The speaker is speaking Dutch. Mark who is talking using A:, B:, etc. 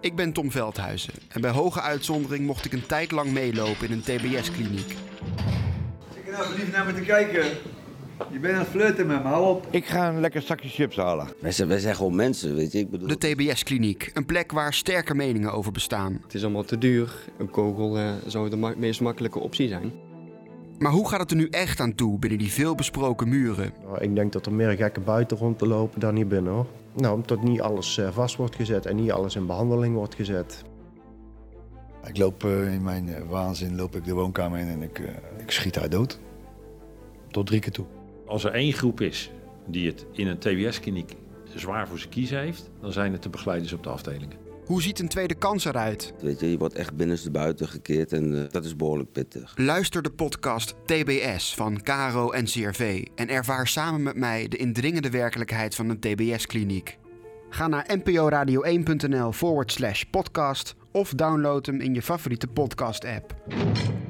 A: Ik ben Tom Veldhuizen en bij hoge uitzondering mocht ik een tijd lang meelopen in een TBS-kliniek.
B: Ik heb nou verliefd naar me te kijken. Je bent aan het flirten met me, hou op.
C: Ik ga een lekker zakje chips halen.
D: Wij zijn, wij zijn gewoon mensen, weet je. Ik bedoel...
A: De TBS-kliniek, een plek waar sterke meningen over bestaan.
E: Het is allemaal te duur. Een kogel eh, zou de ma- meest makkelijke optie zijn.
A: Maar hoe gaat het er nu echt aan toe binnen die veelbesproken muren?
F: Nou, ik denk dat er meer gekken buiten rond te lopen dan hier binnen hoor. Nou, omdat niet alles eh, vast wordt gezet en niet alles in behandeling wordt gezet.
G: Ik loop eh, in mijn eh, waanzin loop ik de woonkamer in en ik, eh, ik schiet haar dood. Tot drie keer toe.
H: Als er één groep is die het in een TBS-kliniek zwaar voor zijn kiezen heeft, dan zijn het de begeleiders op de afdelingen.
A: Hoe ziet een tweede kans eruit?
D: Weet je, je wordt echt binnenstebuiten gekeerd en eh, dat is behoorlijk pittig.
A: Luister de podcast TBS van Caro en CRV en ervaar samen met mij de indringende werkelijkheid van een TBS-kliniek. Ga naar nporadio1.nl forward slash podcast of download hem in je favoriete podcast-app.